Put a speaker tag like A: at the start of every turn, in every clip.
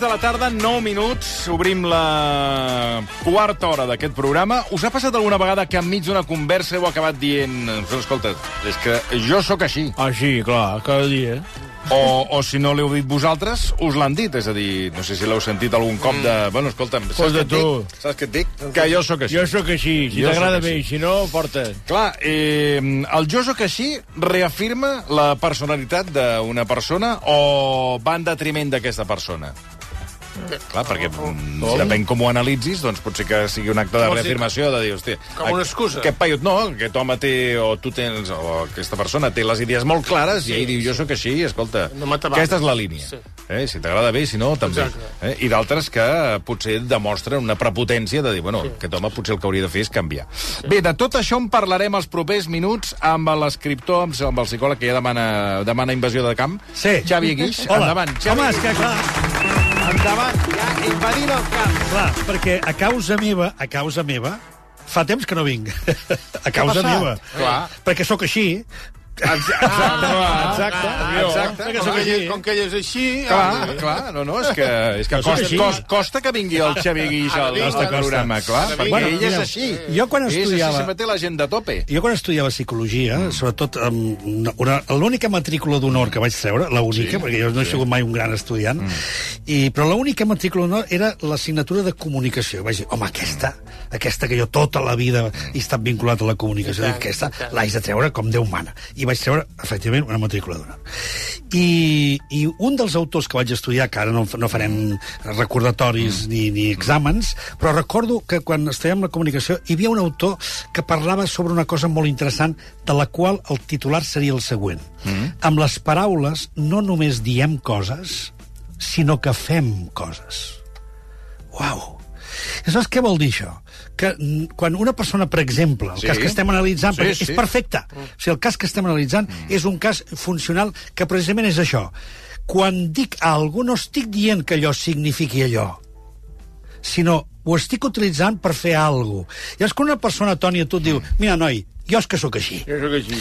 A: de la tarda, 9 minuts. Obrim la quarta hora d'aquest programa. Us ha passat alguna vegada que enmig d'una conversa heu acabat dient... Escolta, és que jo sóc així.
B: Així, Ah, clar, cada dia.
A: O, o si no l'heu dit vosaltres, us l'han dit. És a dir, no sé si l'heu sentit algun cop de... Bueno, escolta'm, saps
B: Pues de
A: què et
B: tu.
A: dic? Saps què et dic? Que jo sóc així.
B: Jo sóc així, si
A: Jo
B: t'agrada
A: sóc
B: bé, si no, porta.
A: Clar, eh, el jo sóc així reafirma la personalitat d'una persona o va en detriment d'aquesta persona? Clar, perquè mm, depèn com ho analitzis, doncs potser que sigui un acte de
C: Vols dir-
A: reafirmació, de dir, hòstia...
C: Com una excusa.
A: Aquest paiot no, aquest home té, o tu tens, o aquesta persona té les idees molt clares i ell diu, jo sóc així, escolta,
C: No m'atabalo.
A: aquesta és la línia.
C: Sí.
A: Eh, si t'agrada bé, si no, també.
C: Exacte.
A: Eh? I d'altres que eh, potser demostren una prepotència de dir, bueno, sí. aquest home potser el que hauria de fer és canviar. Sí. Bé, de tot això en parlarem els propers minuts amb l'escriptor, amb, amb el psicòleg que ja demana, demana invasió de camp,
B: Sí.
A: Xavi Guix.
D: Hola.
A: Endavant, Xavi.
D: Home, és que clar,
A: Endavant, ja, invadint el camp.
D: clar, perquè a causa meva, a causa meva, fa temps que no vinc. A causa meva.
A: Clar.
D: Perquè sóc així.
A: Exacte,
B: ah,
A: Ah, exacte. exacte.
D: Perquè
C: Com
D: sóc
C: que,
D: així.
B: eh?
C: ell- com que ell és així...
A: Clar, clar, no, no, és que, és que
D: sóc
A: costa,
D: així.
A: costa, costa que vingui el Xavi Guix al
C: Ara
A: nostre
C: vinc,
A: programa,
C: costa.
A: clar,
C: Ara
A: perquè
C: vinc.
A: bueno, ell és
D: mireu,
A: així.
D: jo quan
A: Ell és així,
D: estudiava-
A: sempre té la gent de tope.
D: Jo quan estudiava psicologia, mm. sobretot amb una, una, l'única matrícula d'honor que vaig treure, l'única, sí, perquè jo no he sigut mai un gran estudiant, mm. i, però l'única matrícula d'honor era l'assignatura de comunicació. Vaig dir, home, aquesta, aquesta que jo tota la vida he estat vinculat a la comunicació, dic, aquesta l'haig de treure com Déu mana. I vaig treure, efectivament, una matrícula d'honor. I, I un dels autors que vaig estudiar, que ara no, no farem recordatoris mm. ni, ni exàmens, però recordo que quan estudiàvem la comunicació hi havia un autor que parlava sobre una cosa molt interessant de la qual el titular seria el següent. Mm. Amb les paraules no només diem coses, sinó que fem coses. Uau! I saps què vol dir això? Que mm, quan una persona, per exemple, el
A: Sí.
D: sí. cas que estem analitzant,
A: Sí,
D: sí,
A: sí.
D: és perfecte. O sigui, el cas que estem analitzant és un cas funcional que precisament és això. Quan dic a algú, no estic dient que allò signifiqui allò, sinó ho estic utilitzant per fer alguna cosa. Llavors, quan una persona, Toni, a tu et diu, mira, noi, jo és que sóc així.
B: Jo sóc així.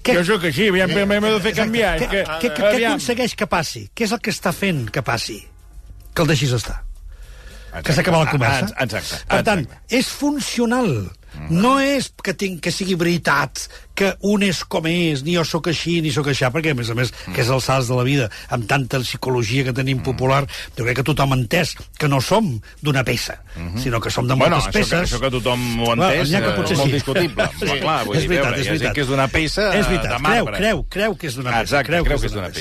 D: Què-
B: Jo sóc així, aviam, primer m'he de fer canviar.
D: Què,
B: és
D: què, què, què
B: aviam.
D: aconsegueix que passi? Què és el que està fent que passi? Que el deixis estar. que s'ha acabat la conversa.
A: Ah, Exacte.
D: Per tant,
A: exacte. Mm.
D: és funcional. No és que, tinc, que sigui veritat que un és com és, ni jo sóc així, ni sóc aixà, perquè, a més a més,
A: Mm.
D: que és el sals de la vida, amb tanta psicologia que tenim popular, jo crec que tothom ha entès que no som d'una peça, sinó que som de
A: Mm-hmm. Bueno,
D: moltes
A: això,
D: peces.
A: que, això que tothom ho ha
D: Bueno,
A: entès
D: n'hi ha que
A: eh,
D: potser
A: és molt
D: sí.
A: discutible.
D: Sí.
A: Però, clar, vull
D: És
A: dir,
D: veritat,
A: veure,
D: és
A: hi ha
D: veritat.
A: gent que és d'una peça eh,
D: És veritat,
A: de
D: creu,
A: marbre.
D: creu, creu que és d'una peça.
A: Exacte, creu que és d'una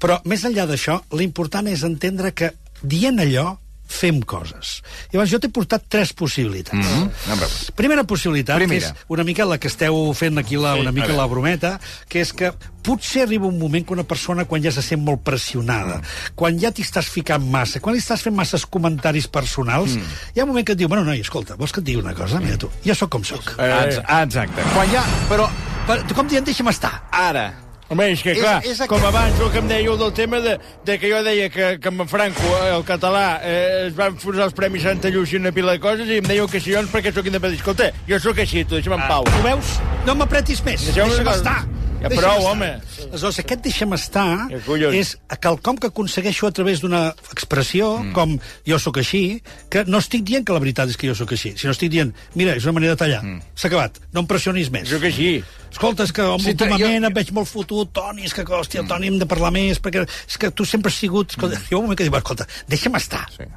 D: Però, més enllà d'això, l'important és entendre que, dient allò, fem coses. Llavors, jo t'he portat tres possibilitats.
A: Mhm, a veure.
D: Primera possibilitat,
A: Primera.
D: que és una mica la que esteu fent aquí, la, una mica la brometa, que és que potser arriba un moment que una persona, quan ja se sent molt pressionada, quan ja t'hi estàs ficant massa, quan li estàs fent masses comentaris personals,
A: Mm.
D: hi ha un moment que et diu, bueno, noi, escolta, vols que et digui una cosa? Mira tu, jo sóc com sóc.
A: Eh, ex- Exacte. Quan ja... Però
D: Per, com dient, deixa'm estar.
A: ara...
B: Home, és que,
A: És-
B: clar,
A: és aquest-
B: és, és com abans el que em dèieu del tema de, de que jo deia que, que amb en Franco, eh, el català, eh, es van posar els Premis Santa Lluís i una pila de coses i em dèieu que si jo, perquè sóc independent. Escolta, jo sóc així, tu, deixa'm en pau.
D: Ho veus? No m'apretis més.
B: Deixeu-me
D: Deixa'm
B: una cosa.
D: estar.
B: Ja
D: Deixa'm
B: prou,
D: estar.
B: home.
D: Aleshores, aquest deixa'm estar
B: Que collons.
D: és quelcom que aconsegueixo a través d'una expressió, mm. com jo sóc així, que no estic dient que la veritat és que jo sóc així, sinó estic dient, mira, és una manera de tallar, mm. s'ha acabat, no em pressionis més.
B: Sóc així.
D: Escolta, és que amb
A: Sí,
D: sí,
A: te-
D: moment
A: jo-
D: jo... em veig molt fotut, Toni, és que, hòstia, Toni, hem de parlar més, perquè és que tu sempre has sigut... Escolta, hi ha un moment que dius, escolta, deixa'm estar.
A: Sí.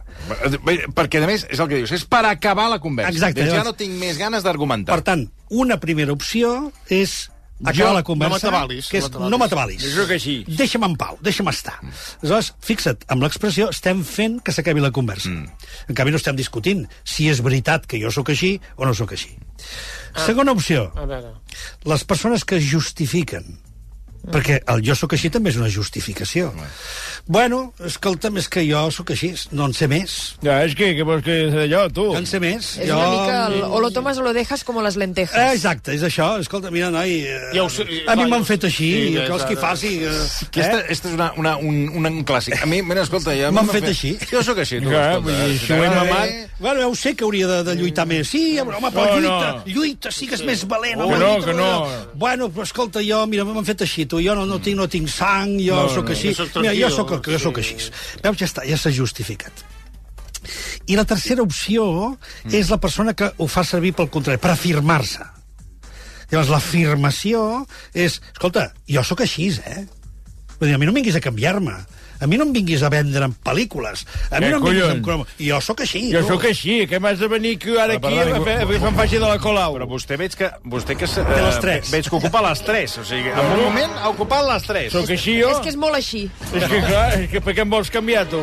A: Bé, Perquè, a més, és el que dius, és per acabar la conversa.
D: Exacte,
A: Dius, ja
D: llavors-
A: no tinc més ganes
D: Per
A: d'argumentar.
D: tant, una primera opció és acabar
B: Jo,
D: la
C: no
D: conversa,
C: m'atabalis,
D: que és
C: no m'atabalis.
D: no m'atabalis.
B: Jo crec que Mm. sí.
D: Deixa'm en pau, deixa'm estar. Aleshores, fixa't, amb l'expressió estem fent que s'acabi la conversa. Mm. En canvi, no estem discutint si és veritat que jo sóc així o no sóc així. Ah. Segona opció,
C: A veure...
D: les persones que es justifiquen
E: Mm.
D: perquè el jo sóc així també és una justificació. Bueno, escolta'm, és que jo sóc així, no en sé més.
B: Ja, és que, què vols que d'allò, tu?
D: No en sé més.
E: Es
D: jo...
E: una mica el- o lo tomas o lo dejas como las lentejas.
D: Eh, exacte, és això. Escolta, mira, noi, eh,
C: Ja ho sé, eh,
D: a mi
C: clar, ja
D: m'han
C: ho
D: fet
C: sé.
D: així,
C: Sí,
D: sí,
C: ja,
D: que vols que hi
C: ja, ja.
D: faci?
A: Aquesta,
D: Eh?
A: aquesta és una, una, un, un, un clàssic. A mi, mira, escolta... Ja
D: M'han fet així.
A: Jo sóc així, tu.
B: Clar,
A: escolta,
B: vull dir,
A: si eh?
B: si ho he
A: t'agrada bé,
B: mamat,
D: Bueno, ja ho sé que hauria de, de lluitar més. Sí, home, però
B: No,
D: lluita,
B: no.
D: lluita, sigues més valent.
B: Oh,
D: home,
B: que no,
D: lluita,
B: que no.
D: Bueno, però escolta, jo, mira, m'han fet així, tu, tu, jo no, no, tinc, no tinc sang, jo
B: No,
D: no, sóc
B: no,
D: així.
B: jo sóc
D: Mira, jo sóc, el
B: tranquil,
D: que- jo sóc així. Veus, ja està, ja s'ha justificat. I la tercera opció és la persona que ho fa servir pel contrari, per afirmar-se. Llavors, l'afirmació és... Escolta, jo sóc així, eh? Vull dir, a mi no em vinguis a canviar-me. A mi no em vinguis a vendre'm pel·lícules. A mi
B: Què
D: no em vinguis
B: collons?
D: amb cromo. Jo sóc així.
B: Jo
D: tu.
B: sóc així, que m'has de venir aquí, ara
A: Però,
B: aquí,
A: perdoni,
B: a fer, a fer que se'm faci de la Colau.
A: Però vostè veig que... Vostè que s-
D: Té les
A: eh,
D: tres.
A: Veig que ocupa les tres. O sigui, en un moment ha ocupat les tres.
B: Sóc així jo?
E: És que és molt així.
B: És que, clar, és que per què em vols canviar, tu?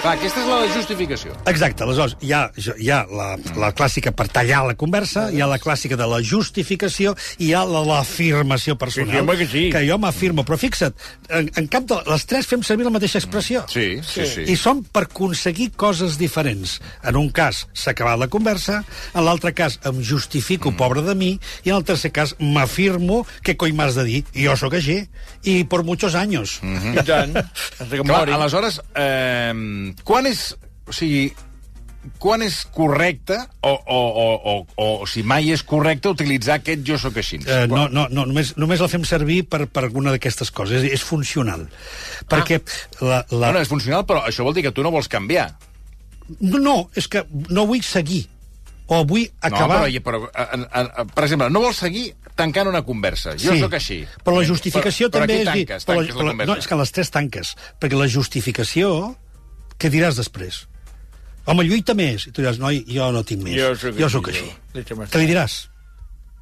A: Clar, aquesta és la justificació.
D: Exacte, aleshores, hi ha, jo- hi ha la, la clàssica per tallar la conversa, hi ha la clàssica de la justificació i hi ha la- l'afirmació personal.
B: Que sí, home, que sí.
D: Que jo m'afirmo, però fixa't, en, en cap de les tres fem servir la mateixa expressió.
A: Sí, sí, sí.
D: I són per aconseguir coses diferents. En un cas s'ha acabat la conversa, en l'altre cas em justifico,
B: Mm.
D: pobre de mi, i en el tercer cas m'afirmo que coi m'has de dir, jo sóc així, i per muchos años. Mm -hmm.
B: I tant. Fins que em
A: Clar,
B: mori.
A: aleshores, eh, quan és... O sigui, quan és correcte o, o, o, o, o si mai és correcte utilitzar aquest jo sóc així?
D: Eh, no, no, no només, només la fem servir per, per alguna d'aquestes coses. És, és funcional. Perquè
A: Ah.
D: la, la...
A: Bueno, és funcional, però això vol dir que tu no vols canviar.
D: No, no, és que no vull seguir. O vull acabar...
A: No, però, però a, a, a, per exemple, no vols seguir tancant una conversa. Jo sóc així.
D: Però la justificació
A: però,
D: també
A: però aquí
D: és... dir-
A: tanques,
D: però
A: tanques la,
D: però
A: conversa.
D: No, és que les tres tanques. Perquè la justificació... Què diràs després? Home, lluita més. I tu diràs, noi, jo no tinc més.
B: Jo sóc
D: jo
B: així,
D: sóc així.
B: jo. Deixa'm estar.
D: Què li diràs?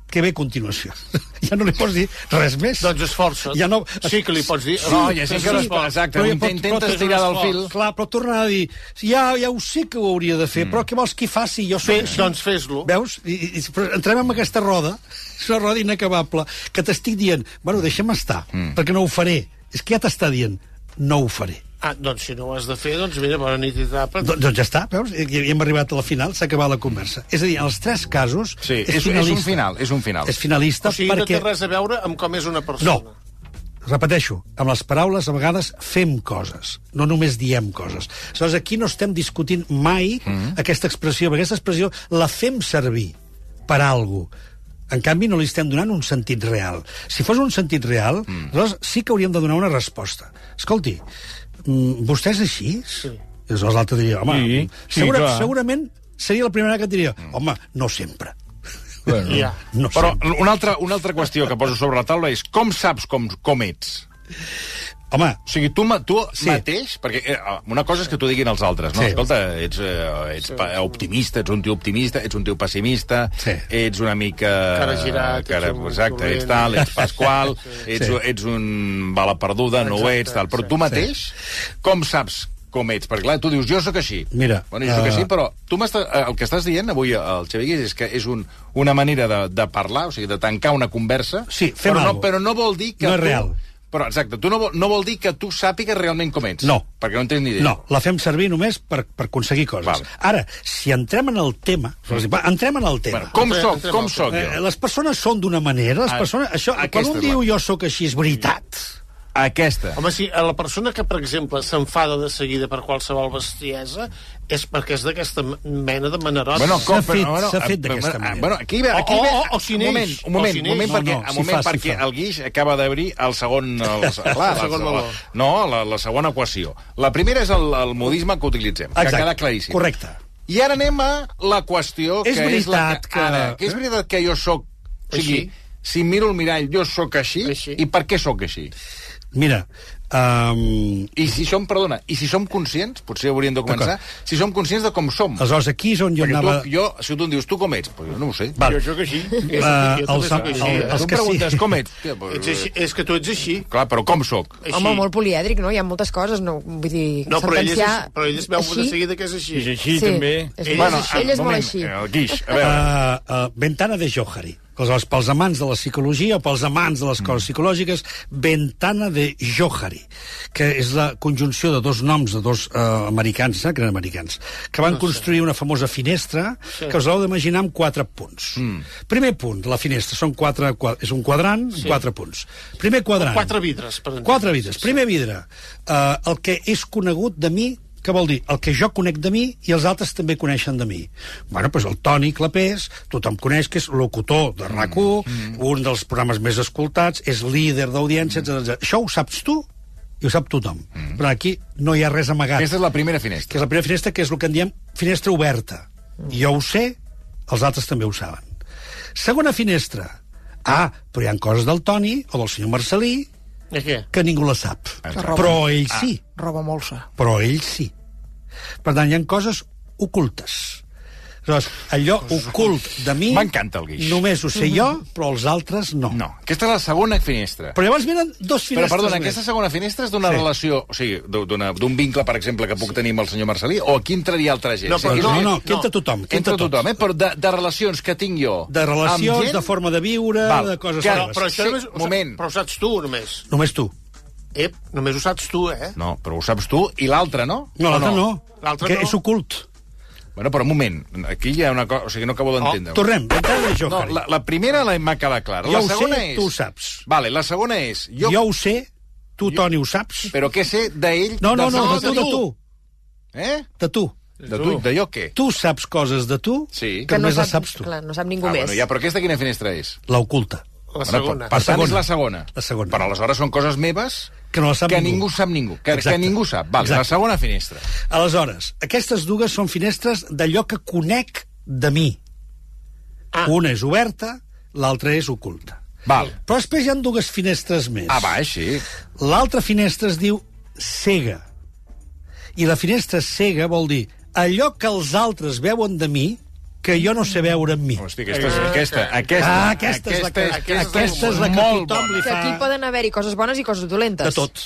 D: Que ve a continuació. ja no li pots dir res més.
C: Doncs esforça't.
D: Ja no-
C: Sí que li pots dir...
D: Sí,
C: "Oh,
A: ja sé
C: fes
A: que
C: un
A: no es
C: esforç".
A: pot, exacte.
D: Però
A: Però,
D: ja
A: però,
D: pot- pot-
A: intentes
D: pot-
A: tirar del
C: pot-
A: fil.
D: Clar, però tornar a dir, ja, ja ho sé que ho hauria de fer, mm. però què vols que hi faci? Jo
C: Bé,
D: sóc així.
C: doncs fes-lo.
D: Veus? I, i, però entrem en aquesta roda, és una roda inacabable, que t'estic dient, bueno, deixa'm estar, mm. perquè no ho faré. És que ja t'està dient, no ho faré.
C: Ah, doncs si no ho has de fer, doncs mira, bona nit i tapa.
D: Do, doncs ja està, veus? I, i hem arribat a la final, s'ha acabat la conversa. És a dir, en els tres casos...
A: Sí, és, és, un
D: finalista.
A: final, és un final.
D: És finalista
C: O sigui, no
D: perquè...
C: té res a veure amb com és una persona.
D: No. Repeteixo, amb les paraules a vegades fem coses, no només diem coses. Aleshores, aquí no estem discutint mai mm -hmm. aquesta expressió, perquè aquesta expressió la fem servir per algú. En canvi, no li estem donant un sentit real. Si fos un sentit real, mm. aleshores sí que hauríem de donar una resposta. Escolti, mm, vostè és així? Sí. I aleshores l'altre diria, home,
B: Sí, sí, clar.
D: segurament seria la primera que et diria, home, no sempre.
B: Bueno.
C: Ja.
D: No
A: Però
D: sempre.
A: una altra, una altra qüestió que poso sobre la taula és com saps com, com ets?
D: Home,
A: O sigui, tu, ma- tu sí.
D: Sí.
A: mateix... Perquè eh, una cosa és que t'ho diguin els altres, no?
D: Sí.
A: Sí. Escolta, ets, eh, ets pa- optimista, ets un tio optimista, ets un tio pessimista,
D: Sí.
A: ets una mica...
C: Cara girat,
A: cara,
C: ets un
A: Exacte,
C: dolent.
A: ets tal, ets pasqual, ets,
D: Sí.
A: ets un bala perduda, no ho
C: Exacte,
A: ets, tal. Però
C: sí.
A: tu mateix, com saps com ets? Perquè, clar, tu dius, jo sóc així.
D: Mira,
A: Bueno, jo sóc
D: eh,
A: així, però tu m'està- eh, el que estàs dient avui al Xavier Guix és que és un, una manera de, de parlar, o sigui, de tancar una conversa,
D: Sí, fem
A: però, no,
D: algo.
A: però no vol dir que
D: No
A: tu,
D: és real.
A: però exacte, tu no, vol- no vol dir que tu sàpigues realment com ets.
D: No.
A: Perquè no en tens ni idea.
D: No, la fem servir només per, per aconseguir coses.
A: Val.
D: Ara, si entrem en el tema... Va, entrem en el tema.
A: Bueno, com
C: Entrem-
A: soc,
C: entrem
A: com
C: al
A: soc
D: Eh,
A: jo?
D: les persones són d'una manera, les
A: Ah,
D: persones... Això, quan
A: aquesta
D: un
A: és la-
D: diu jo sóc així, és veritat.
A: Aquesta.
C: Home, si a la persona que, per exemple, s'enfada de seguida per qualsevol bestiesa és perquè és d'aquesta mena de manerosa.
A: Bueno, com,
D: fet-
A: però, bueno,
D: s'ha
A: eh,
D: fet d'aquesta
A: bueno,
D: manera.
A: Bueno, aquí ve, aquí
C: O-
A: ve,
C: o- o si
A: un
C: neix,
A: moment, un
C: o
A: moment,
C: si
A: un moment,
C: neix.
D: No,
A: perquè,
D: no,
A: un
D: si
A: moment
D: fa, si
A: perquè
D: fa.
A: el guix acaba d'obrir el segon... El, clar,
C: El segon
A: la-
C: valor.
A: no, la, la segona equació. La primera és el, el modisme que utilitzem, que queda claríssim.
D: Correcte.
A: I ara anem a la qüestió que
D: És
A: és la
D: veritat
A: que...
D: que-
A: Ara, que és veritat que jo sóc... O sigui,
C: Així.
A: si miro el mirall, jo sóc així,
C: Així.
A: i per què sóc així?
D: Mira, um,
A: I si som, perdona, i si som conscients, potser hauríem de començar, si som conscients de com som.
D: aleshores, aquí és on jo
A: Perquè tu,
D: anava...
A: jo, si tu em dius, tu com ets? Pues jo no ho sé.
D: Val.
B: Jo sóc així.
C: és,
D: la-
C: jo també
D: el-
C: sóc
D: el-
C: així. eh?
A: tu
D: els
A: em
D: que sí.
A: preguntes com ets. Tia, pues,
C: Ets així. És que tu ets així.
A: Clar, però com sóc?
C: així.
E: Home, molt polièdric, no? Hi ha moltes coses, no? Vull dir,
C: No, però ell, és,
E: sentenciar...
C: així, però ell es veu de seguida que és així.
B: És així,
E: sí,
B: també. Eh,
E: És,
C: Ell
E: ell,
C: Bueno, eh,
E: és, així, ell és molt així.
A: El guix, a veure...
D: Uh, uh, Ventana de Johari. Aleshores, pels amants de la psicologia o pels amants de les coses psicològiques, Ventana de Johari, que és la conjunció de dos noms de dos uh, americans, eh, que eren americans, que van construir una famosa finestra sí. que us l'heu d'imaginar amb quatre punts. Mm. Primer punt, la finestra, són quatre, qua- és un quadrant amb quatre punts. Primer quadrant.
C: Quatre vidres, per entendre.
D: Quatre vidres. Primer vidre, eh, el que és conegut de mi que vol dir el que jo conec de mi i els altres també coneixen de mi. Bueno, doncs el Toni Clapés, tothom coneix que és locutor de RAC1, mm. un dels programes més escoltats, és líder d'audiència, etc. Això ho saps tu i ho sap tothom. Mm. Però aquí no hi ha res amagat
A: Aquesta és la primera finestra.
D: que és la primera finestra, que és el que en diem finestra oberta. Jo ho sé, els altres també ho saben. Segona finestra. Ah, però hi ha coses del Toni o del senyor Marcelí
C: I Eh, què?
D: que ningú la sap.
A: Exacte. Ah.
D: Però ell sí,
F: Roba molsa.
D: però ell sí. Per tant, hi ha coses ocultes. Llavors, allò ocult de mi...
A: M'encanta el guix.
D: Només ho sé jo, però els altres no.
A: No, aquesta és la segona finestra.
D: Però llavors venen
A: Però,
D: dos finestres
A: perdona,
D: més.
A: aquesta segona finestra és d'una
D: Sí.
A: relació, o sigui, d'u- d'una- d'un vincle, per exemple, que puc tenir amb el senyor Marcelí, o aquí entraria altra gent?
C: No, però
A: Aquí
D: Doncs No,
A: és-
D: no, que entra tothom.
A: Entra
D: Que entra tots.
A: tothom, eh? Però de, de relacions que tinc jo...
D: De relacions,
A: amb gent,
D: de forma de viure,
A: Val,
D: de coses...
A: que-
D: seves.
C: Però això
A: Sí,
C: només, ho saps-
A: moment.
C: Però ho saps tu, només.
D: Només tu.
C: Ep, només ho saps tu, eh?
A: No, però ho saps tu, i l'altre, no?
D: No, l'altre no.
C: L'altre
D: que
C: no.
D: És ocult.
A: Bueno, però un moment, aquí hi ha una cosa... O sigui, no acabo d'entendre.
D: Oh, Tornem, l'entrada de
A: No,
D: Joker.
A: la, la primera la- m'ha quedat clara.
D: Jo
A: la
D: ho sé,
A: segona és...
D: tu ho saps.
A: Vale, la segona és...
D: jo...
A: Jo,
D: jo ho sé, tu, Toni, ho saps.
A: Però què sé d'ell...
D: No, no,
A: dels
D: no,
A: altres
D: de tu, de tu,
A: Eh?
D: de tu.
A: De tu, de jo què?
D: Tu saps coses de tu
A: Sí.
D: que, que només
E: no
D: les saps tu.
E: Clar, no sap ningú
A: Ah,
E: més.
A: bueno, ja, però aquesta quina finestra és?
D: L'oculta.
C: La
A: Bueno,
C: segona.
A: Per, per tant,
D: segona.
A: és la segona.
D: La segona.
A: Però aleshores són coses meves
D: Que no la sap
A: que
D: ningú.
A: ningú sap ningú. Que, que
D: Exacte.
A: ningú sap. Val, la
D: Exacte.
A: segona finestra.
D: Aleshores, aquestes dues són finestres d'allò que conec de mi.
C: Ah.
D: Una és oberta, l'altra és oculta.
A: Val.
D: Però després hi han dues finestres més.
A: Ah, va, així.
D: L'altra finestra es diu cega. I la finestra cega vol dir allò que els altres veuen de mi que jo no sé veure en mi.
A: Hosti, aquesta, és, aquesta, aquesta,
D: Eh. Ah, aquesta, és la que,
A: aquesta és
D: aquesta és la que
A: molt
D: tothom
A: bona.
D: li
E: Que
D: fa...
E: aquí poden haver-hi coses bones i coses dolentes.
D: De tot.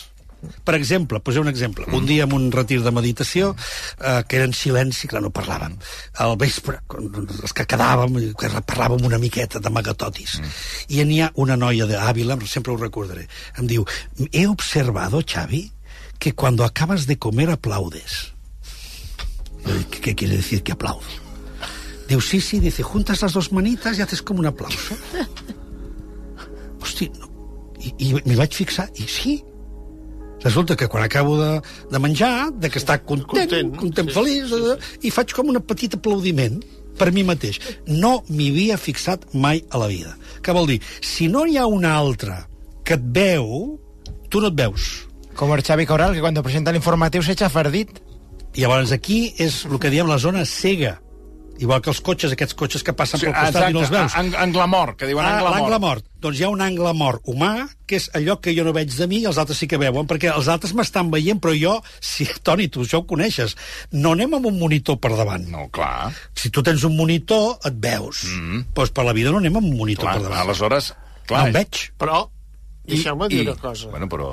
D: Per exemple, poseu un exemple. Un dia en un retir de meditació, eh, que era en silenci, clar, no parlàvem. Al vespre, quan- els que quedàvem, i que parlàvem una miqueta d'amagatotis. I n'hi ha una noia d'Àvila, sempre ho recordaré, em diu, he observado, Xavi, que cuando acabas de comer aplaudes. Jo dic, ¿Qué, qué quiere decir que aplaudo? Diu, sí, sí, dice, juntas las dos manitas y haces como un aplauso. Hosti, no. I, i m'hi vaig fixar, i sí. Resulta que quan acabo de, de menjar, de que està content, content,
C: Content,
D: content
C: sí,
D: sí, feliç, sí, sí. i faig com un petit aplaudiment per mi mateix. No m'hi havia fixat mai a la vida. Què vol dir? Si no hi ha un altre que et veu, tu no et veus.
F: Como el Xavi Coral, que cuando presenta el informativo se echa fardit.
D: I llavors aquí és el que diem la zona cega. Igual que els cotxes, aquests cotxes que passen pel costat i no els veus.
A: ang- angle mort, que diuen
D: Ah,
A: angle mort.
D: L'angle mort. Doncs hi ha un angle mort humà, que és allò que jo no veig de mi i els altres sí que veuen, perquè els altres m'estan veient, però jo, si, Toni, tu això ho coneixes, no anem amb un monitor per davant.
A: No, clar.
D: Si tu tens un monitor, et veus.
C: Mm-hmm.
D: Mm. Doncs per la vida no anem amb un monitor
A: clar
D: per davant.
A: aleshores,
D: No
A: clar...
C: eh?
D: em veig.
C: Però, deixeu-me dir una cosa.
A: Bueno, però...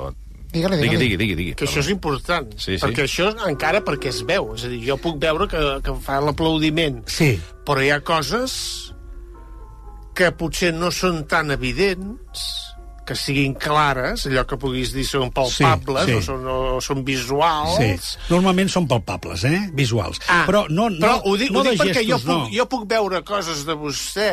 F: Digue-li,
A: Digui,
F: digue-li.
A: digui, digui. digui.
C: Que això és important,
A: Sí, sí.
C: perquè això encara perquè es veu. És a dir, jo puc veure que, que fa l'aplaudiment,
D: Sí.
C: però hi ha coses que potser no són tan evidents, que siguin clares, allò que puguis dir són palpables
D: Sí, sí.
C: O, són, o són visuals...
D: Sí. Normalment són palpables, eh? Visuals.
C: Ah,
D: però no, no,
C: però ho dic,
D: no
C: ho dic
D: de
C: perquè
D: gestos,
C: jo puc,
D: no.
C: jo puc veure coses de vostè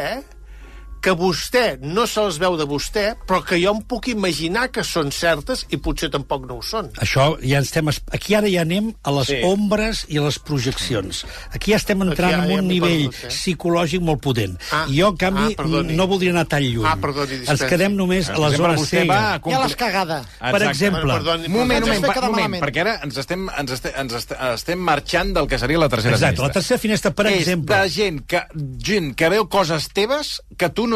C: que vostè no se les veu de vostè, però que jo em puc imaginar que són certes i potser tampoc no ho són.
D: Això ja estem... es- Aquí ara ja anem a les
A: Sí.
D: sí. ombres i a les projeccions. Aquí ja estem entrant
C: Aquí ara
D: en
C: ja
D: un
C: m'he
D: nivell
C: perdut, eh?
D: psicològic molt potent.
C: Ah,
D: Ah, jo, en canvi,
C: ah, perdoni.
D: no voldria anar tan lluny.
C: Ah, perdoni, dispensi.
D: Ens quedem només a la
A: Sempre
D: zona
A: vostè
D: cega.
A: va a
F: I a les cagades.
D: Per exemple,
C: Bueno, perdoni,
A: Un moment,
F: Ens
A: un moment,
C: perdoni.
F: has
A: pa-
F: fet quedar
A: un moment,
F: malament.
A: perquè ara ens estem, ens estem, ens estem, estem marxant del que seria la tercera
D: Exacte, la
A: finestra.
D: tercera finestra, per
A: és
D: exemple...
A: de gent que, gent que veu coses teves que tu no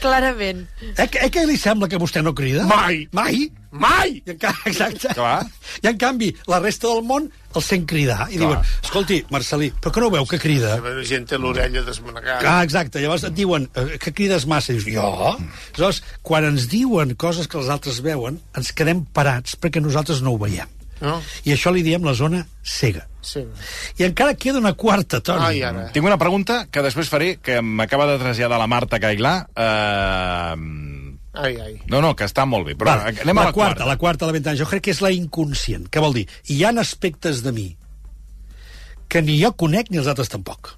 E: Clarament.
D: Eh, que- eh que li sembla que vostè no crida?
C: Mai.
D: Mai?
C: Mai!
D: I en, ca- exacte.
A: Clar.
D: I en canvi, la resta del món el sent cridar. I diuen, escolti, Marcelí, però que no veu que crida?
C: La gent té l'orella desmanegada.
D: Ah, exacte. Llavors et diuen eh, que crides massa. I dius, jo? Aleshores, quan ens diuen coses que els altres veuen, ens quedem parats perquè nosaltres no ho veiem.
C: No.
D: I això li diem la zona cega.
C: Sí.
D: I encara queda una quarta, Toni.
C: Ai, ara.
A: Tinc una pregunta que després faré, que m'acaba de traslladar la Marta Cailà. Eh...
C: Ai, ai.
A: No, no, que està molt bé, però
D: Vale,
A: anem a la,
D: quarta, la quarta de la ventana. Jo crec que és la inconscient. Què vol dir? Hi han aspectes de mi que ni jo conec ni els altres tampoc.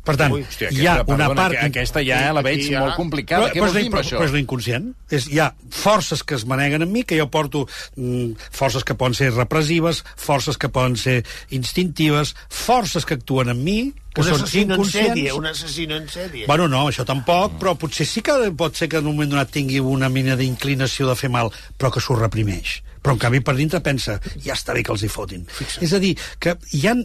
D: Per tant,
A: Ui, hòstia,
D: hi ha
A: aquesta,
D: una
A: perdona,
D: part...
A: que Aquesta ja la veig
C: Aquí ja.
A: molt complicada. Què
D: però,
A: vols
D: és
A: dir amb
D: la-
A: això?
D: però és l'inconscient. És, hi ha forces que es maneguen en mi, que jo porto mm, forces que poden ser repressives, forces que poden ser instintives, forces que actuen en mi, que
C: un
D: són
C: assassino en
D: inconscients.
C: sèrie, un assassino en sèrie.
D: Bueno, no, això tampoc, però potser sí que pot ser que en un moment donat tingui una mina d'inclinació de fer mal, però que s'ho reprimeix. Però, en canvi, per dintre pensa, ja està bé que els hi fotin. Fixa't. És a dir, que hi han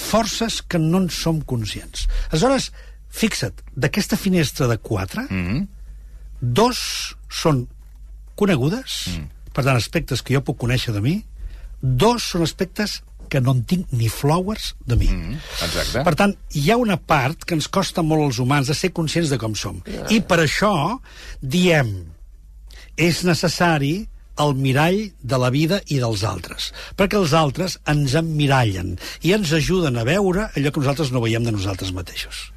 D: forces que no en som conscients. Aleshores, fixa't, d'aquesta finestra de 4, mm -hmm. dos són conegudes, mm. per tant, aspectes que jo puc conèixer de mi, dos són aspectes que no en tinc ni flowers de mi. Mm.
A: Exacte.
D: Per tant, hi ha una part que ens costa molt als humans de ser conscients de com som. I per això diem és necessari el mirall de la vida i dels altres, perquè els altres ens emmirallen i ens ajuden a veure allò que nosaltres no veiem de nosaltres mateixos.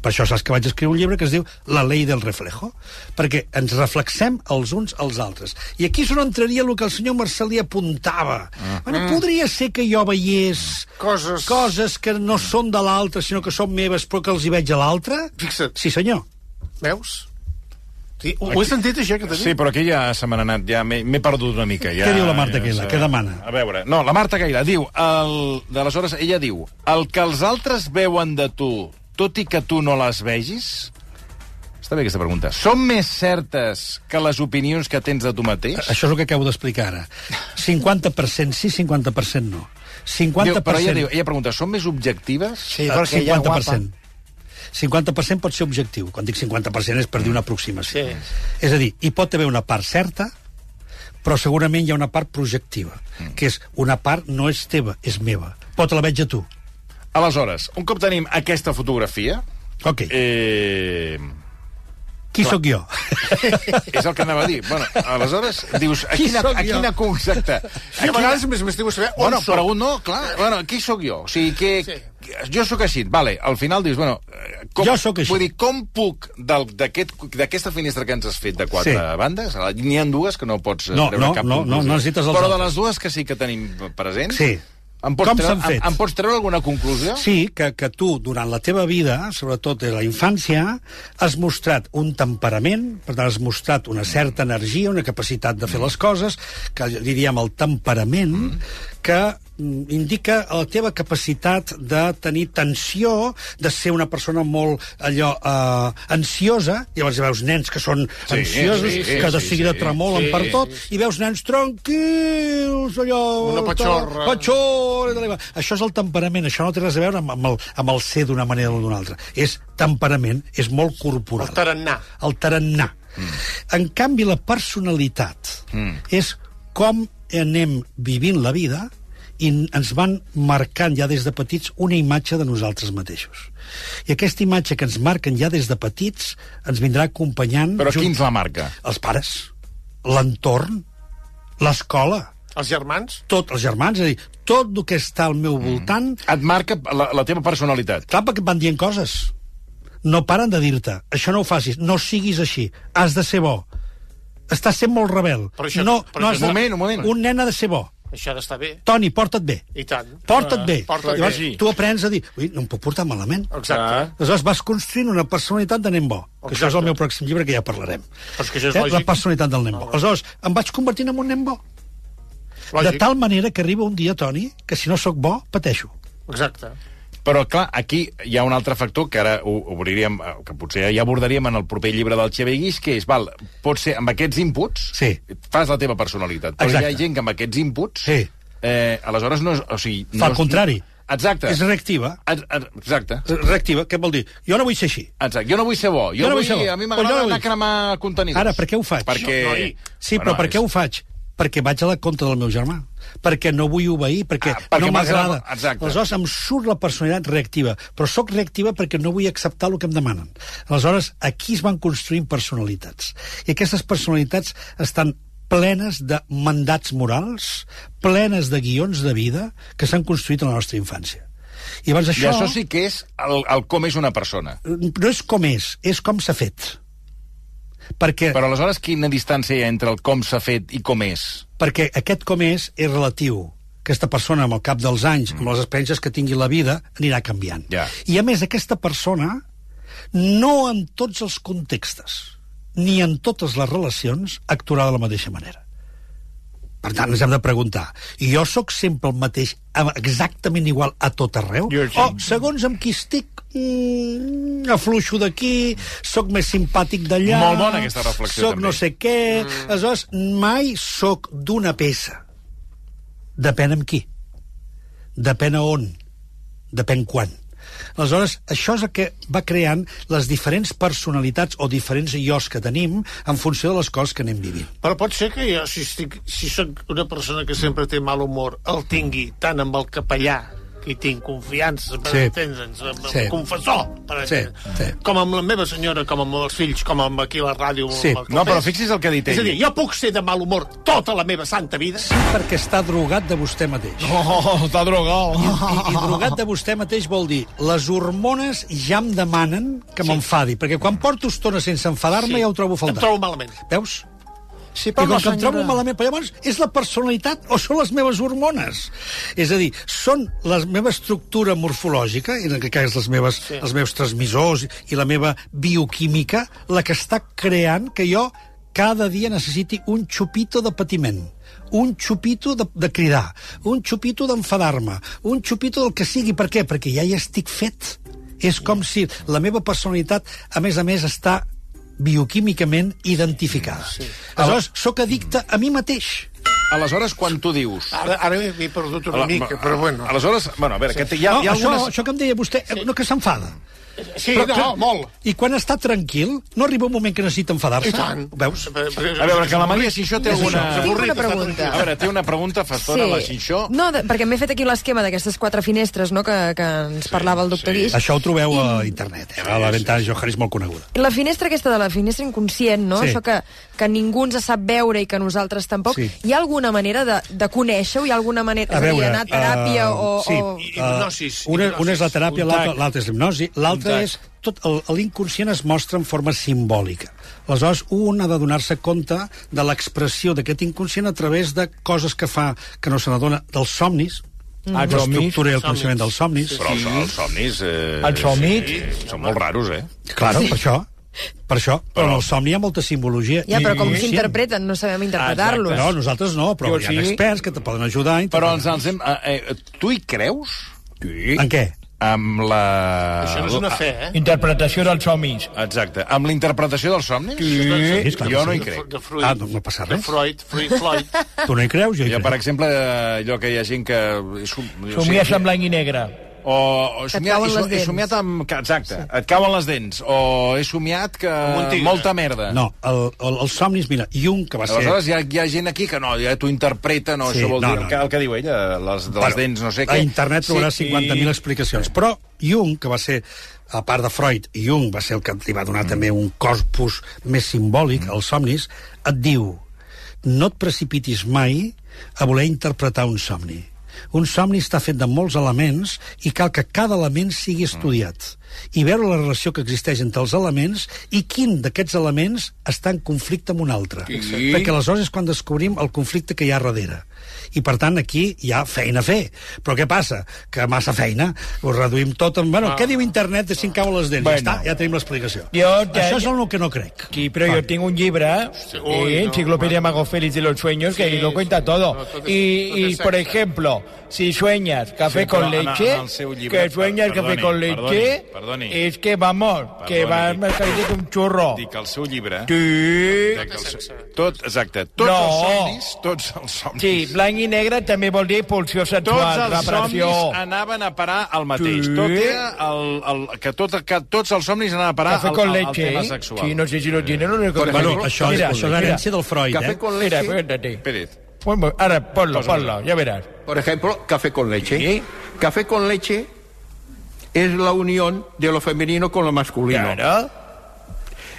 D: Per això saps que vaig escriure un llibre que es diu La ley del reflejo, perquè ens reflexem els uns als altres. I aquí és on entraria el que el senyor Marcelí apuntava. Mm. Bueno, podria ser que jo veiés
C: Coses.
D: coses que no són de l'altre, sinó que són meves, però que els hi veig a l'altre?
C: Fixa't.
D: Sí, senyor.
C: Veus? Sí, ho, ho he sentit, això, que t'ha dit?
A: Sí, però aquí ja se m'ha anat, ja m'he m'he perdut una mica. Ja,
D: Què diu la Marta
A: ja
D: Cailà?
A: sé.
D: Què demana?
A: A veure, no, la Marta Cailà diu, el, de les hores, ella diu, el que els altres veuen de tu, tot i que tu no les vegis, està bé aquesta pregunta, són més certes que les opinions que tens de tu mateix?
D: Això és el que acabo d'explicar ara. 50% sí, 50% no. 50%...
A: Diu, però ella, diu, ella pregunta, són més objectives?
F: Sí,
D: Eh,
F: perquè ella
D: 50%. 50% pot ser objectiu. Quan dic 50% és per dir una aproximació. Sí. És a dir, hi pot haver una part certa, però segurament hi ha una part projectiva, mm. que és una part no és teva, és meva. Pot la veig a tu.
A: Aleshores, un cop tenim aquesta fotografia,
D: Ok, eh,
A: eh,
D: qui sóc jo?
A: és el que anava a dir. Bueno, aleshores, dius, a
D: Qui
A: quina,
D: sóc
A: a
D: jo?
A: quina exacte.
C: Sí, a vegades més m'estimo saber on
A: Bueno,
C: sóc.
A: però un no,
D: Eh.
A: clar. Bueno, qui sóc jo? O sigui, que...
C: Sí.
A: Sí. Jo sóc així. Vale, al final dius, bueno... eh, Com,
D: Jo sóc així.
A: Vull dir, com puc del- d'aquest- d'aquesta finestra que ens has fet de quatre
D: Sí.
A: bandes, n'hi ha dues que no pots eh,
D: No,
A: treure
D: no,
A: cap
D: no, no,
A: conclusió.
D: no necessites els
A: Però de
D: altres.
A: les dues que sí que tenim presents,
D: Sí.
A: em pots,
D: Com
A: treure,
D: s'han fet?
A: Em, em pots treure alguna conclusió?
D: Sí, que, que tu, durant la teva vida, sobretot de la infància, has mostrat un temperament, per tant, has mostrat una certa energia, una capacitat de fer les coses, que diríem el temperament, que mm, indica la teva capacitat de tenir tensió, de ser una persona molt allò eh, ansiosa, llavors hi veus nens que són
A: Sí,
D: ansiosos,
A: sí, sí,
D: que de
A: sí,
D: seguida
A: sí.
D: tremolen
A: Sí,
D: per
A: sí,
D: tot, i veus nens tranquils, allò...
C: Una patxorra.
D: Patxorra xor, de l'Eva. Això és el temperament, això no té res a veure amb, amb, el, amb el ser d'una manera o d'una altra. És temperament, és molt corporal.
C: El tarannà.
D: El tarannà. Mm. En canvi, la personalitat mm. és com anem vivint la vida i ens van marcant ja des de petits una imatge de nosaltres mateixos. I aquesta imatge que ens marquen ja des de petits ens vindrà acompanyant...
A: Però
D: junts-
A: qui ens la marca?
D: Els pares, l'entorn, l'escola
C: Els germans?
D: tot, els germans, és a dir, tot el que està al meu
C: Mm.
D: voltant,
A: Et marca la, la teva personalitat.
D: clar, perquè et van dient coses. No paren de dir-te, això no ho facis, no siguis així, has de ser bo. Estàs sent molt rebel.
C: Però això-
D: no,
C: però
D: no has
C: això-
D: de-
A: Un moment, un moment.
D: Un nen ha de ser bo.
C: Això ha d'estar bé.
D: Toni, porta't bé.
C: I tant. Ah,
D: Porta't bé.
C: Porta't
D: Llavors,
C: bé.
D: tu aprens a dir, ui, no em puc portar malament.
C: Exacte.
D: Aleshores vas construint una personalitat de nen bo. Que això és el meu pròxim llibre, que ja parlarem.
C: Però és que això és
D: Eh, La
C: lògic. Ah.
D: personalitat del nen bo. Aleshores, em vaig convertint en un nen bo.
C: Lògic.
D: De tal manera que arriba un dia, Toni, que si no sóc bo, pateixo.
C: Exacte.
A: Però, clar, aquí hi ha un altre factor que ara ho obriríem, eh, que potser ja abordaríem en el proper llibre del Xavier Guix, que és, val, pot ser amb aquests inputs
D: Sí.
A: fas la teva personalitat, però
D: Exacte.
A: hi ha gent que amb aquests inputs
D: Sí.
A: eh, aleshores no... és- O sigui, no
D: Fa el
A: és-
D: contrari.
A: Exacte.
D: És reactiva.
A: Es- es- Exacte.
D: reactiva, què vol dir? Jo no vull ser així.
A: Exacte. Jo no vull ser bo. Jo,
D: Jo no
A: vull,
D: vull ser bo.
A: A mi
D: Però jo
A: m'agrada
D: no
A: anar a
D: vull.
A: cremar contenidors.
D: Ara, per què ho faig?
A: Perquè...
C: No, noi.
D: Sí, bueno, però per
A: és-
D: què ho faig? Perquè vaig a la contra del meu germà. Perquè no vull obeir, perquè,
A: Ah, perquè
D: no
A: m'agrada.
D: m'agrada.
A: Exacte.
D: Aleshores, em surt la personalitat reactiva. Però sóc reactiva perquè no vull acceptar el que em demanen. Aleshores, aquí es van construint personalitats. I aquestes personalitats estan plenes de mandats morals, plenes de guions de vida que s'han construït en la nostra infància. I abans
A: I
D: això,
A: això sí que és el, el com és una persona.
D: no és com és, és com s'ha fet. Perquè,
A: Però aleshores quina distància hi ha entre el com s'ha fet i com és?
D: perquè aquest com és és relatiu. Aquesta persona, amb el cap dels anys, amb les experiències que tingui la vida, anirà canviant.
A: Mm. Ja.
D: I, a més, aquesta persona, no en tots els contextes, ni en totes les relacions, actuarà de la mateixa manera. Per tant, ens hem de preguntar, jo sóc sempre el mateix, a- exactament igual a tot arreu?
B: Jo sí.
D: O, segons amb qui estic, mm, afluixo d'aquí, sóc més simpàtic d'allà...
A: Molt bona aquesta reflexió,
D: Soc
A: també.
D: no sé què... Mm. Aleshores, mai sóc d'una peça. Depèn amb qui. Depèn a on. Depèn quan. Aleshores, això és el que va creant les diferents personalitats o diferents ios que tenim en funció de les coses que anem vivint.
C: Però pot ser que jo, si, estic, si sóc una persona que sempre té mal humor, el tingui tant amb el capellà, que hi tinc confiança, per
D: Sí.
C: sí. entendre'ns, amb el
D: Sí.
C: confessor, per
D: Sí,
C: entendre'ns,
D: sí.
C: com amb la meva senyora, com amb els fills, com amb aquí la ràdio...
D: Sí.
C: amb el
A: No, però
C: cafè.
A: fixi's el que ha dit
C: És a
A: ell.
C: dir, jo puc ser de mal humor tota la meva santa vida?
D: Sí, perquè està drogat de vostè mateix.
B: Oh, oh, oh, està drogat.
D: I, i drogat de vostè mateix vol dir les hormones ja em demanen que sí. m'enfadi, perquè quan porto estona sense enfadar-me sí. ja ho trobo
C: Em
D: faltat.
C: trobo malament.
D: Veus?
F: Sí,
D: I
F: però
D: com
F: la
D: que em trobo
F: senyora...
D: malament, però llavors és la personalitat o són les meves hormones? És a dir, són la meva estructura morfològica, en aquest cas les meves, sí. els meus transmissors i la meva bioquímica, la que està creant que jo cada dia necessiti un xupito de patiment un xupito de, de cridar, un xupito d'enfadar-me, un xupito del que sigui. Per què? Perquè ja hi estic fet. És com si la meva personalitat, a més a més, està bioquímicament identificada. Sí. Aleshores, sóc addicte a mi mateix.
A: Aleshores, quan tu dius...
C: Ara, ara m'he perdut una
A: Ala-
C: mica, però bueno.
A: Aleshores, bueno, a veure, que té- hi ha,
C: Ah,
D: no,
A: hi ha algunes...
D: això, això que em deia vostè, sí. no que s'enfada.
C: Sí,
D: Però-
C: Eh, no,
D: però-
C: molt.
D: I quan està tranquil, no arriba un moment que necessita enfadar-se?
C: I tant.
D: Veus?
A: A veure, que la Maria Xinxó té alguna...
E: Tinc una
A: A
E: pregunta.
A: veure, té una pregunta fastona, sí. la Xinxó.
E: No, de, perquè m'he fet aquí l'esquema d'aquestes quatre finestres no, que, que ens parlava el doctor
A: sí.
E: sí. Guix.
D: Això ho trobeu a internet, eh? a la ventana de Johari és molt coneguda.
E: La finestra aquesta de la finestra inconscient, no?
D: Sí.
E: Això que, que ningú ens sap veure i que nosaltres tampoc.
D: Sí.
E: Hi ha alguna manera de, de conèixer-ho? Hi ha alguna manera...
D: A veure,
E: és a dir, anar a teràpia
D: eh,
E: o...
D: sí.
E: o...
C: Hipnosis.
D: Una, una és la teràpia, l'altra
B: Contacte.
D: l'altra és l'hipnosi, l'altra és...
B: Contacte.
D: Tot el- l'inconscient es mostra en forma simbòlica. Aleshores, un ha de donar-se compte de l'expressió d'aquest inconscient a través de coses que fa que no se n'adona, dels somnis, mm.
B: Els somnis.
D: l'estructura i el coneixement dels somnis.
A: Però els, els somnis... Eh,
B: Els somnis.
A: Sí, són molt raros, eh?
D: Claro, per això. Per això. Però, en el somni hi ha molta simbologia.
E: Ja, però com
D: I-
E: s'interpreten? No sabem interpretar-los.
D: No, nosaltres no, però
B: Jo
D: hi ha
B: sí.
D: experts que te poden ajudar. a
A: Però
D: interpretar.
A: ens els hem... Eh, eh, tu hi creus? Sí.
D: En què?
A: Amb la...
C: Això no és
A: Ah,
C: una fe, eh?
B: Interpretació dels somnis.
A: Exacte. Amb la interpretació dels somnis?
D: Sí, clar que
A: Jo
D: sí.
A: no hi crec.
C: De Freud.
D: Ah, no, no passa
C: De
D: res.
C: Freud, Freud, Freud.
D: Tu no hi creus? Jo hi
A: Jo,
D: crec.
A: per exemple, eh, allò que hi ha gent que... som- o sigui,
B: Somies amb blanc i negre.
A: O, o
E: Que et
A: somiat,
E: cauen
A: he,
E: les
A: so- he
E: dents.
A: somiat amb... que- Exacte, sí. et cauen les dents. O he somiat que...
C: un tigre.
A: Molta merda.
D: No, el, el, els somnis, mira, Jung, que va ser...
A: Aleshores, hi ha, hi ha gent aquí que no, ja t'ho interpreta, no,
D: Sí,
A: això vol
D: no,
A: dir
D: no.
A: el, que, el que diu ella, les, de les dents, no sé què.
D: A internet trobaràs sí, 50.000 explicacions. Però Jung, que va ser, a part de Freud, Jung va ser el que li va donar mm. també un corpus més simbòlic mm. als somnis, et diu no et precipitis mai a voler interpretar un somni. Un somni està fet de molts elements i cal que cada element sigui
A: Mm.
D: estudiat i veure la relació que existeix entre els elements i quin d'aquests elements està en conflicte amb un altre.
A: I-
D: Perquè aleshores és quan descobrim el conflicte que hi ha darrere. I, per tant, aquí hi ha feina a fer. Però què passa? Que massa feina. Ho reduïm tot en... Bueno, què diu internet de si em cauen les dents?
B: Bueno.
D: Ja està, ja tenim l'explicació.
B: Jo te-
D: Això és en el que no crec. Ah.
B: Sí, pero yo tengo un libro,
C: uy,
B: eh,
C: no,
B: Enciclopedia Mago Félix de los Sueños, que ahí lo cuenta todo.
C: no, todo es-
B: y,
C: todo es
B: y, por
C: sexo.
B: ejemplo, si sueñas café
A: Sí, pero
B: con
A: en- en
B: leche,
A: el seu llibre,
B: que sueñas
A: per-
B: café
A: perdoni,
B: con leche,
A: perdoni, perdoni.
B: es que vamos, que va al mercadillo con un churro.
A: Dic, el seu llibre...
B: Sí.
A: Dic, el seu... Tot, exacte. Tots
B: No.
A: els somnis, tots els somnis...
B: Sí, blanc i negre també vol dir pulsió
A: Tots
B: sexual,
A: els
B: repressió.
A: somnis anaven a parar al mateix.
B: Sí.
A: Tot era el, el, que, tot, que tots els somnis anaven a parar
B: Café
A: al,
B: con
A: al, al
B: leche. eh?
A: tema sexual.
B: Sí, no sé si lo tiene, no lo
A: Por
D: Bueno,
A: ejemplo,
D: això, és,
A: mira,
D: això és
B: mira.
D: herència del Freud,
G: Café
D: eh?
G: con
B: Mira,
G: leche.
B: espérate.
A: Pérez.
B: Bueno, Ahora, ponlo, ponlo, ya verás.
G: Por ejemplo, café con leche.
B: Sí.
G: Café con leche es la unión de lo femenino con lo masculino.
B: Claro.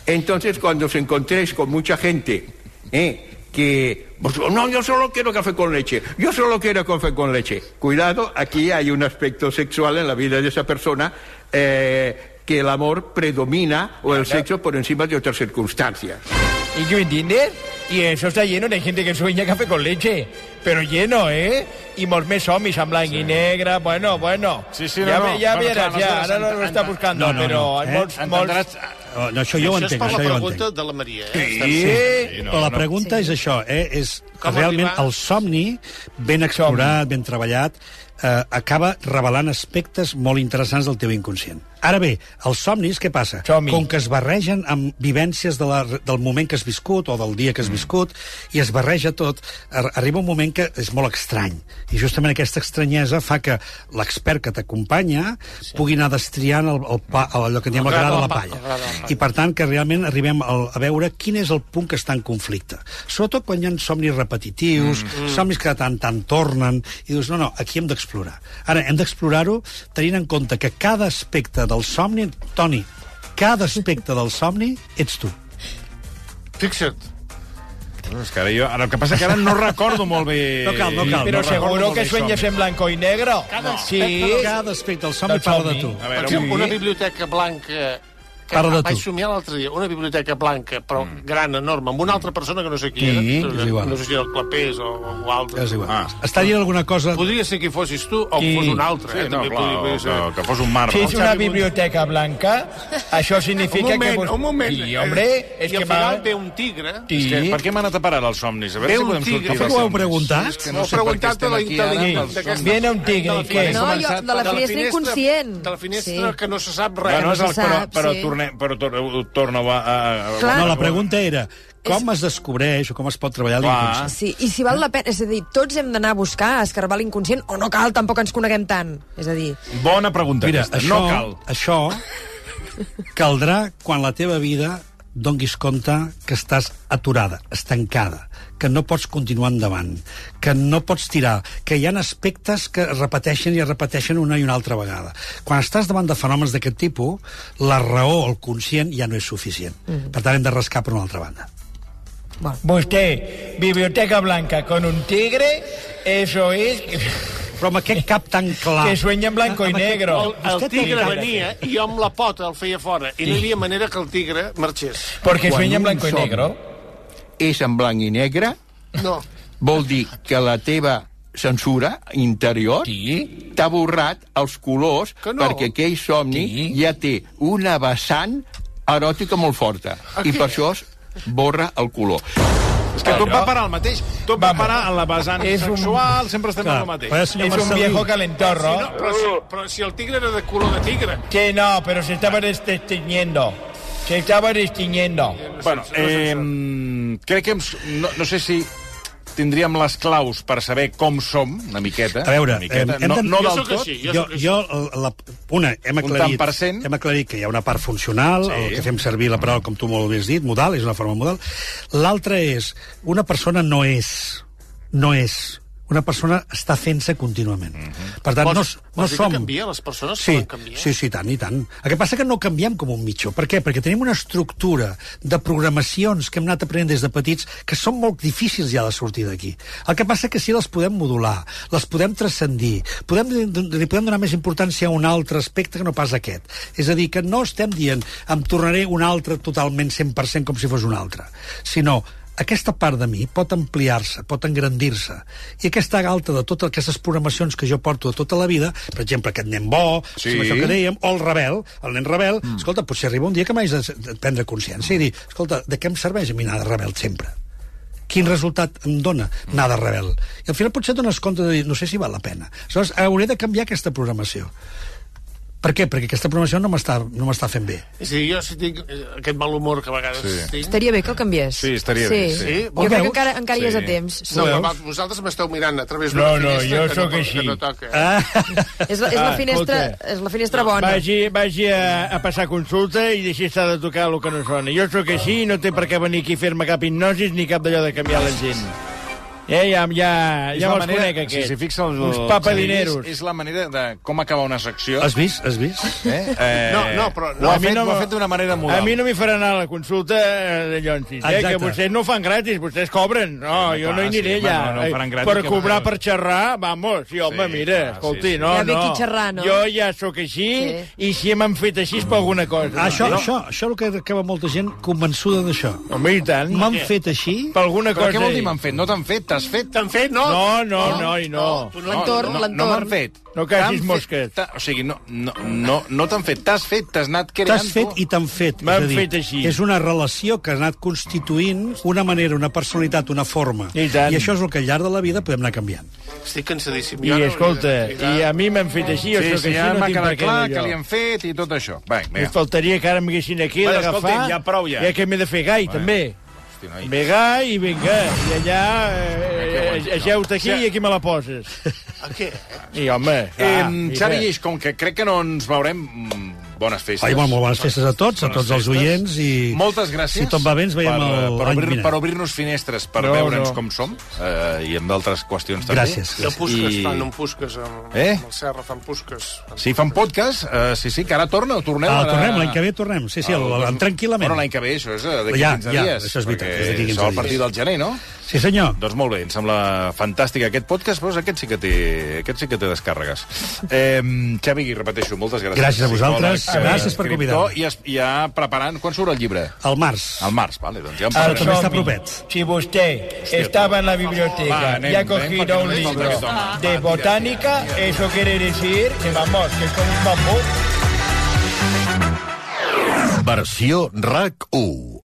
G: Entonces, cuando os encontréis con mucha gente ¿eh? que pues, no, yo solo quiero café con leche, yo solo quiero café con leche. Cuidado, aquí hay un aspecto sexual en la vida de esa persona eh, que el amor predomina o el sexo por encima de otras circunstancias.
B: ¿Y qué me entiendes? Y eso está lleno de gente que sueña café con leche. Pero lleno, ¿eh? I molts més homis en blanc i negre, bueno, bueno.
A: Sí, sí, no,
B: ja,
A: no.
B: ve- ja
A: Bueno,
B: veràs,
A: clar,
B: ja,
A: nosaltres
B: ara no
A: ent-
B: ho està buscant,
D: No, no,
B: però
D: no,
B: hi ha
D: eh?
B: molts, molts...
A: Entendràs...
D: Oh, no, això jo ho
C: això és
D: entenc,
C: per la
D: això jo ho
C: pregunta
D: entenc.
C: de la Maria. Eh?
B: Sí,
A: Sí,
D: No, la pregunta no. és això, eh? és
C: Com
D: realment
C: arribar?
D: el somni ben explorat, ben treballat, eh, acaba revelant aspectes molt interessants del teu inconscient. Ara bé, els somnis, què passa?
B: Somni.
D: Com que es barregen amb vivències de la, del moment que has viscut o del dia que has viscut, i es barreja tot, ar- arriba un moment que és molt estrany. I justament aquesta estranyesa fa que l'expert que t'acompanya sí. pugui anar destriant el, el pa, allò que diem el gra de la palla. I, per tant, que realment arribem al, a veure quin és el punt que està en conflicte. Sobretot quan hi ha somnis repetitius, mm. somnis que de tant en tant tornen, i dius, no, no, aquí hem d'explorar. Ara, hem d'explorar-ho tenint en compte que cada aspecte del somni... Toni, cada aspecte del somni ets tu.
C: Fixa't.
A: No, és que ara jo... Ara, el que passa que ara no recordo molt bé...
D: No cal, no cal.
B: però
D: no recordo
B: seguro
D: molt
B: que
D: bé
B: sueñas en blanco i negro. Sí,
D: Cada aspecte del somni
B: Del
D: parla
B: somni.
D: de tu.
A: A
C: Per
A: veure,
C: exemple, una
A: un...
C: biblioteca blanca... Que
D: Parla de
C: vaig
D: tu.
C: somiar l'altre dia, una biblioteca blanca, però mm. gran, enorme, amb una altra persona que no sé qui
D: Sí,
C: era.
D: és igual.
C: No sé si era el Clapés o algú altre.
D: És igual.
A: Ah.
D: Ah. Està dient alguna cosa...
C: Podria ser que fossis tu o
B: Qui?
C: que fos un altre.
A: Sí,
C: eh?
A: no,
C: També
A: clar, o
C: podria
A: que,
C: ser.
A: que fos un mar.
B: Si és
A: no?
B: una biblioteca blanca, això significa
C: Un moment,
B: que... vos-
C: un moment.
B: Sí, hombre, és
C: I
B: que
C: al
B: va...
C: final ve un tigre...
B: Sí.
A: És que, per què m'ha anat a parar els somnis? A
C: Ve
A: veure si
C: un
A: podem
C: tigre.
A: sortir dels
C: Per
D: què ho heu
A: somnis.
D: preguntat?
A: És que
C: No,
A: sé per què
C: preguntat
A: estem
C: doncs, de la
A: aquí ara
C: intel·ligència,
A: amb els
C: d'aquesta-
A: somnis.
B: Viene un tigre, i què?
E: No, jo- de la
C: de
E: finestra inconscient.
C: De la finestra
E: Sí.
C: que no se sap res.
A: Bueno, és el,
E: se
A: però,
E: sap,
A: però,
E: sí.
A: tornem, però tor ho torno a... a, a
E: Clar.
D: No, la pregunta era com es descobreix o com es pot treballar
A: Ah. Clar.
D: l'inconscient.
E: Sí, i si val la pena, és a dir, tots hem d'anar a buscar, a escarbar l'inconscient, o no cal, tampoc ens coneguem tant. És a dir,
A: Bona pregunta
D: Mira,
A: aquesta.
D: això,
A: No cal.
D: això caldrà quan la teva vida donguis compte que estàs aturada, estancada, que no pots continuar endavant, que no pots tirar, que hi ha aspectes que es repeteixen i es repeteixen una i una altra vegada. Quan estàs davant de fenòmens d'aquest tipus, la raó, el conscient, ja no és suficient. Per tant, hem de rascar per una altra banda.
B: Vostè, biblioteca blanca con un tigre, eso es...
D: Però amb aquest cap tan clar...
B: Que sueña en blanco y
D: Amb aquest-
B: negro.
C: El, el
D: Vostè té
C: tigre
D: cara.
C: venia i jo amb la pota el feia fora. I no hi havia manera que el tigre marxés.
B: Porque
G: Quan
B: sueña en
G: un
B: blanco y
G: somni
B: negro.
G: És en blanc i negre,
C: No.
G: vol dir que la teva censura interior
B: Sí.
G: t'ha borrat els colors
C: Que no.
G: perquè aquell somni
B: Sí.
G: ja té una vessant eròtica molt forta i per això es borra el color.
A: És que tot va parar al mateix. Tot va
B: Vamos.
A: parar en la vessant
B: És un-
A: sexual, sempre estem en
D: Clar,
A: el mateix.
D: però és,
B: Es un viejo
C: Si no
B: calentorro.
C: però, si, però si el tigre era de color de tigre...
B: Sí, no, pero se estaba destiñendo. Se estaba destiñendo.
A: Bueno, eh, crec que... Hem, s- no, no sé si tindríem les claus per saber com som, una miqueta.
D: A veure,
A: una miqueta.
D: eh, hem
A: no,
D: de-
A: no
C: Jo
A: del
C: sóc
A: tot.
C: així, jo,
D: jo,
C: sóc així.
D: jo la, una,
A: tant
D: hem
A: per
D: aclarit,
A: cent. Mm.
D: hem aclarit que hi ha una part funcional, sí. el que fem servir la paraula, com tu molt bé has dit, modal, és una forma modal. L'altra és, una persona no és, no és, una persona està fent-se contínuament. Mm
A: Mm-hmm.
D: -hmm. Per tant, no,
C: Vols-
D: no
C: vols dir que
D: som...
C: canvia? Les persones
D: sí,
C: poden canviar?
D: Sí, sí, i tant, i tant. El que passa que no canviem com un mitjó. Per què? Perquè tenim una estructura de programacions que hem anat aprenent des de petits que són molt difícils ja de sortir d'aquí. El que passa que sí les podem modular, les podem transcendir, podem, li podem donar més importància a un altre aspecte que no pas aquest. És a dir, que no estem dient em tornaré un altre totalment 100% com si fos un altre, sinó aquesta part de mi pot ampliar-se, pot engrandir-se. I aquesta galta de totes aquestes programacions que jo porto de tota la vida, per exemple, aquest nen bo,
A: Sí.
D: sí. això que dèiem, o el rebel, el nen rebel, mm. escolta, potser arriba un dia que m'haig de, de prendre consciència i dir, escolta, de què em serveix a mi anar de rebel sempre? Quin resultat em dona anar de rebel? I al final potser et dones compte de dir, no sé si val la pena. Aleshores, hauré de canviar aquesta programació. Per què? Perquè aquesta programació no m'està no m'està fent bé.
C: És a dir, jo si tinc eh, aquest mal humor que a vegades
A: Sí.
C: tinc...
E: estaria bé que el canvies.
A: Sí, estaria bé, sí.
C: Sí?
E: Jo crec
D: Veus?
E: que encara, encara hi és
A: Sí.
E: a temps. Sí.
C: No,
D: Veus?
C: va, vosaltres m'esteu mirant a través
B: No,
C: d'una
B: no, jo
C: finestra que, no,
B: sóc
C: to-
B: així.
C: que no toca.
D: Ah!
E: És la, és la
B: Ah,
E: finestra,
B: escolta.
E: és la finestra bona.
B: Vagi, vagi a, a passar consulta i deixi estar de tocar el que no sona. Jo sóc així i no té per què venir aquí a fer-me cap hipnosis ni cap d'allò de canviar la gent. Ja, ja, ja,
A: És
B: ja
A: la
B: me'ls
A: manera-
B: conec,
A: si
B: aquests.
A: s'hi fixa el-
B: Uns papadineros.
A: És, és la manera de com acabar una secció.
D: Has vist? Has vist?
A: Eh? Eh,
C: No, no, però-
A: Ho
C: no,
A: ha,
C: a mi
A: fet,
B: no
A: ho ha
B: me-
A: fet d'una manera
B: A
A: modal.
B: mi no m'hi farà anar a la consulta eh, de Llonsis, eh,
D: Exacte.
B: que vostès no ho fan gratis, vostès cobren. No,
A: Sí, home,
B: jo no hi
A: clar, sí,
B: aniré
A: home,
B: ja. Eh,
A: no, no ho faran gratis,
B: per
A: que
B: cobrar,
A: no.
B: per xerrar, vamos, sí, home,
A: Sí,
B: mira,
A: clar,
B: escolti,
A: sí, sí.
B: no,
E: Ja ve
B: no.
E: aquí xerrar, no?
B: Jo ja sóc així,
E: Sí.
B: i si m'han fet així és per alguna cosa.
D: Ah,
A: Ah,
D: Això,
B: no?
D: això, això és el que acaba molta gent convençuda d'això.
B: Home, i tant.
D: M'han fet així...
B: Per alguna
A: Però
B: cosa.
A: què vol dir
B: ell.
A: m'han fet? No t'han fet, t'has fet.
C: T'han fet, no?
B: No, no, no, i no.
E: L'entorn,
A: no, no, no
E: l'entorn.
A: m'han fet.
B: No cacis
A: T'han fet-
B: mosques.
A: t'ha- O sigui, no, no, no, no t'han fet, t'has fet, t'has anat creant.
D: T'has fet i t'han fet.
B: M'han
D: és a dir,
B: fet així.
D: És una relació que ha anat constituint una manera, una personalitat, una forma.
B: I tant.
D: això és el que al llarg de la vida podem anar canviant.
C: Estic cansadíssim.
B: I
C: Jo no-
B: escolta, i a mi m'han fet així, jo
A: Sí,
B: sóc
A: sí,
B: així,
A: ja
B: no
A: m'ha
B: tinc per
A: quedat
B: què
A: clar
B: dir
A: que
B: jo.
A: li han fet i tot això. Va,
B: Em
A: vinga.
B: faltaria que ara m'haguessin aquí
A: Bueno,
B: d'agafar...
A: escolti'm, ja prou, ja.
B: Ja que m'he de fer gai, també.
A: Hosti, noi.
B: Vinga, i vinga, i allà
A: Que
B: eh,
A: guai,
B: eh, ajeu-te aquí i aquí me la poses.
C: A què?
B: I home,
A: Eh,
B: clar, i
A: Xavi
B: res.
A: Lleix, com que crec que no ens veurem, mm, bones festes.
D: Ai, bueno, molt bones festes a tots, a tots els oients i...
A: Moltes gràcies.
D: Si tot va bé, ens veiem
A: per, eh,
D: el-
A: per
D: l'any
A: obrir,
D: vinent.
A: Per obrir-nos finestres, per
B: No,
A: veure'ns
B: no.
A: com som, eh, i amb d'altres qüestions també.
D: Gràcies.
C: De pusques
A: I-
C: fan, un pusques amb,
A: Eh?
C: amb el Serra, fan pusques.
A: Si fan podcast, eh, sí, sí, que ara torna, o torneu.
D: Ah,
A: ara...
D: tornem, l'any que ve tornem. Sí, sí, el,
A: Ah,
D: el, el, tranquil·lament.
A: Bueno, doncs, l'any que ve, això és eh, d'aquí
D: Ja,
A: 15
D: ja,
A: dies.
D: això és veritat,
A: perquè
D: és d'aquí 15
A: serà el partir
D: dies.
A: del gener, no?
D: Sí, senyor.
A: Doncs molt bé, em sembla fantàstic aquest podcast, però aquest sí que té, aquest sí que té descàrregues. Eh, Xavi, repeteixo, moltes gràcies.
D: Gràcies a vosaltres,
A: Psicòleg, eh,
D: gràcies per
A: escriptor,
D: convidar-me.
A: I es, ja preparant, quan surt el llibre?
D: Al març.
A: Al març, vale, doncs ja en
D: Ara
A: parlarem.
D: també està
B: Som-hi.
D: propet.
B: Si vostè estaba en la biblioteca
A: Va, anem,
B: y ha
A: anem, perquè
B: cogido
A: no
B: un
A: li falta
B: libro
A: aquest home.
B: de
A: Va,
B: botánica, eso quiere decir que vamos, que es como un bambú.
H: Versió RAC 1.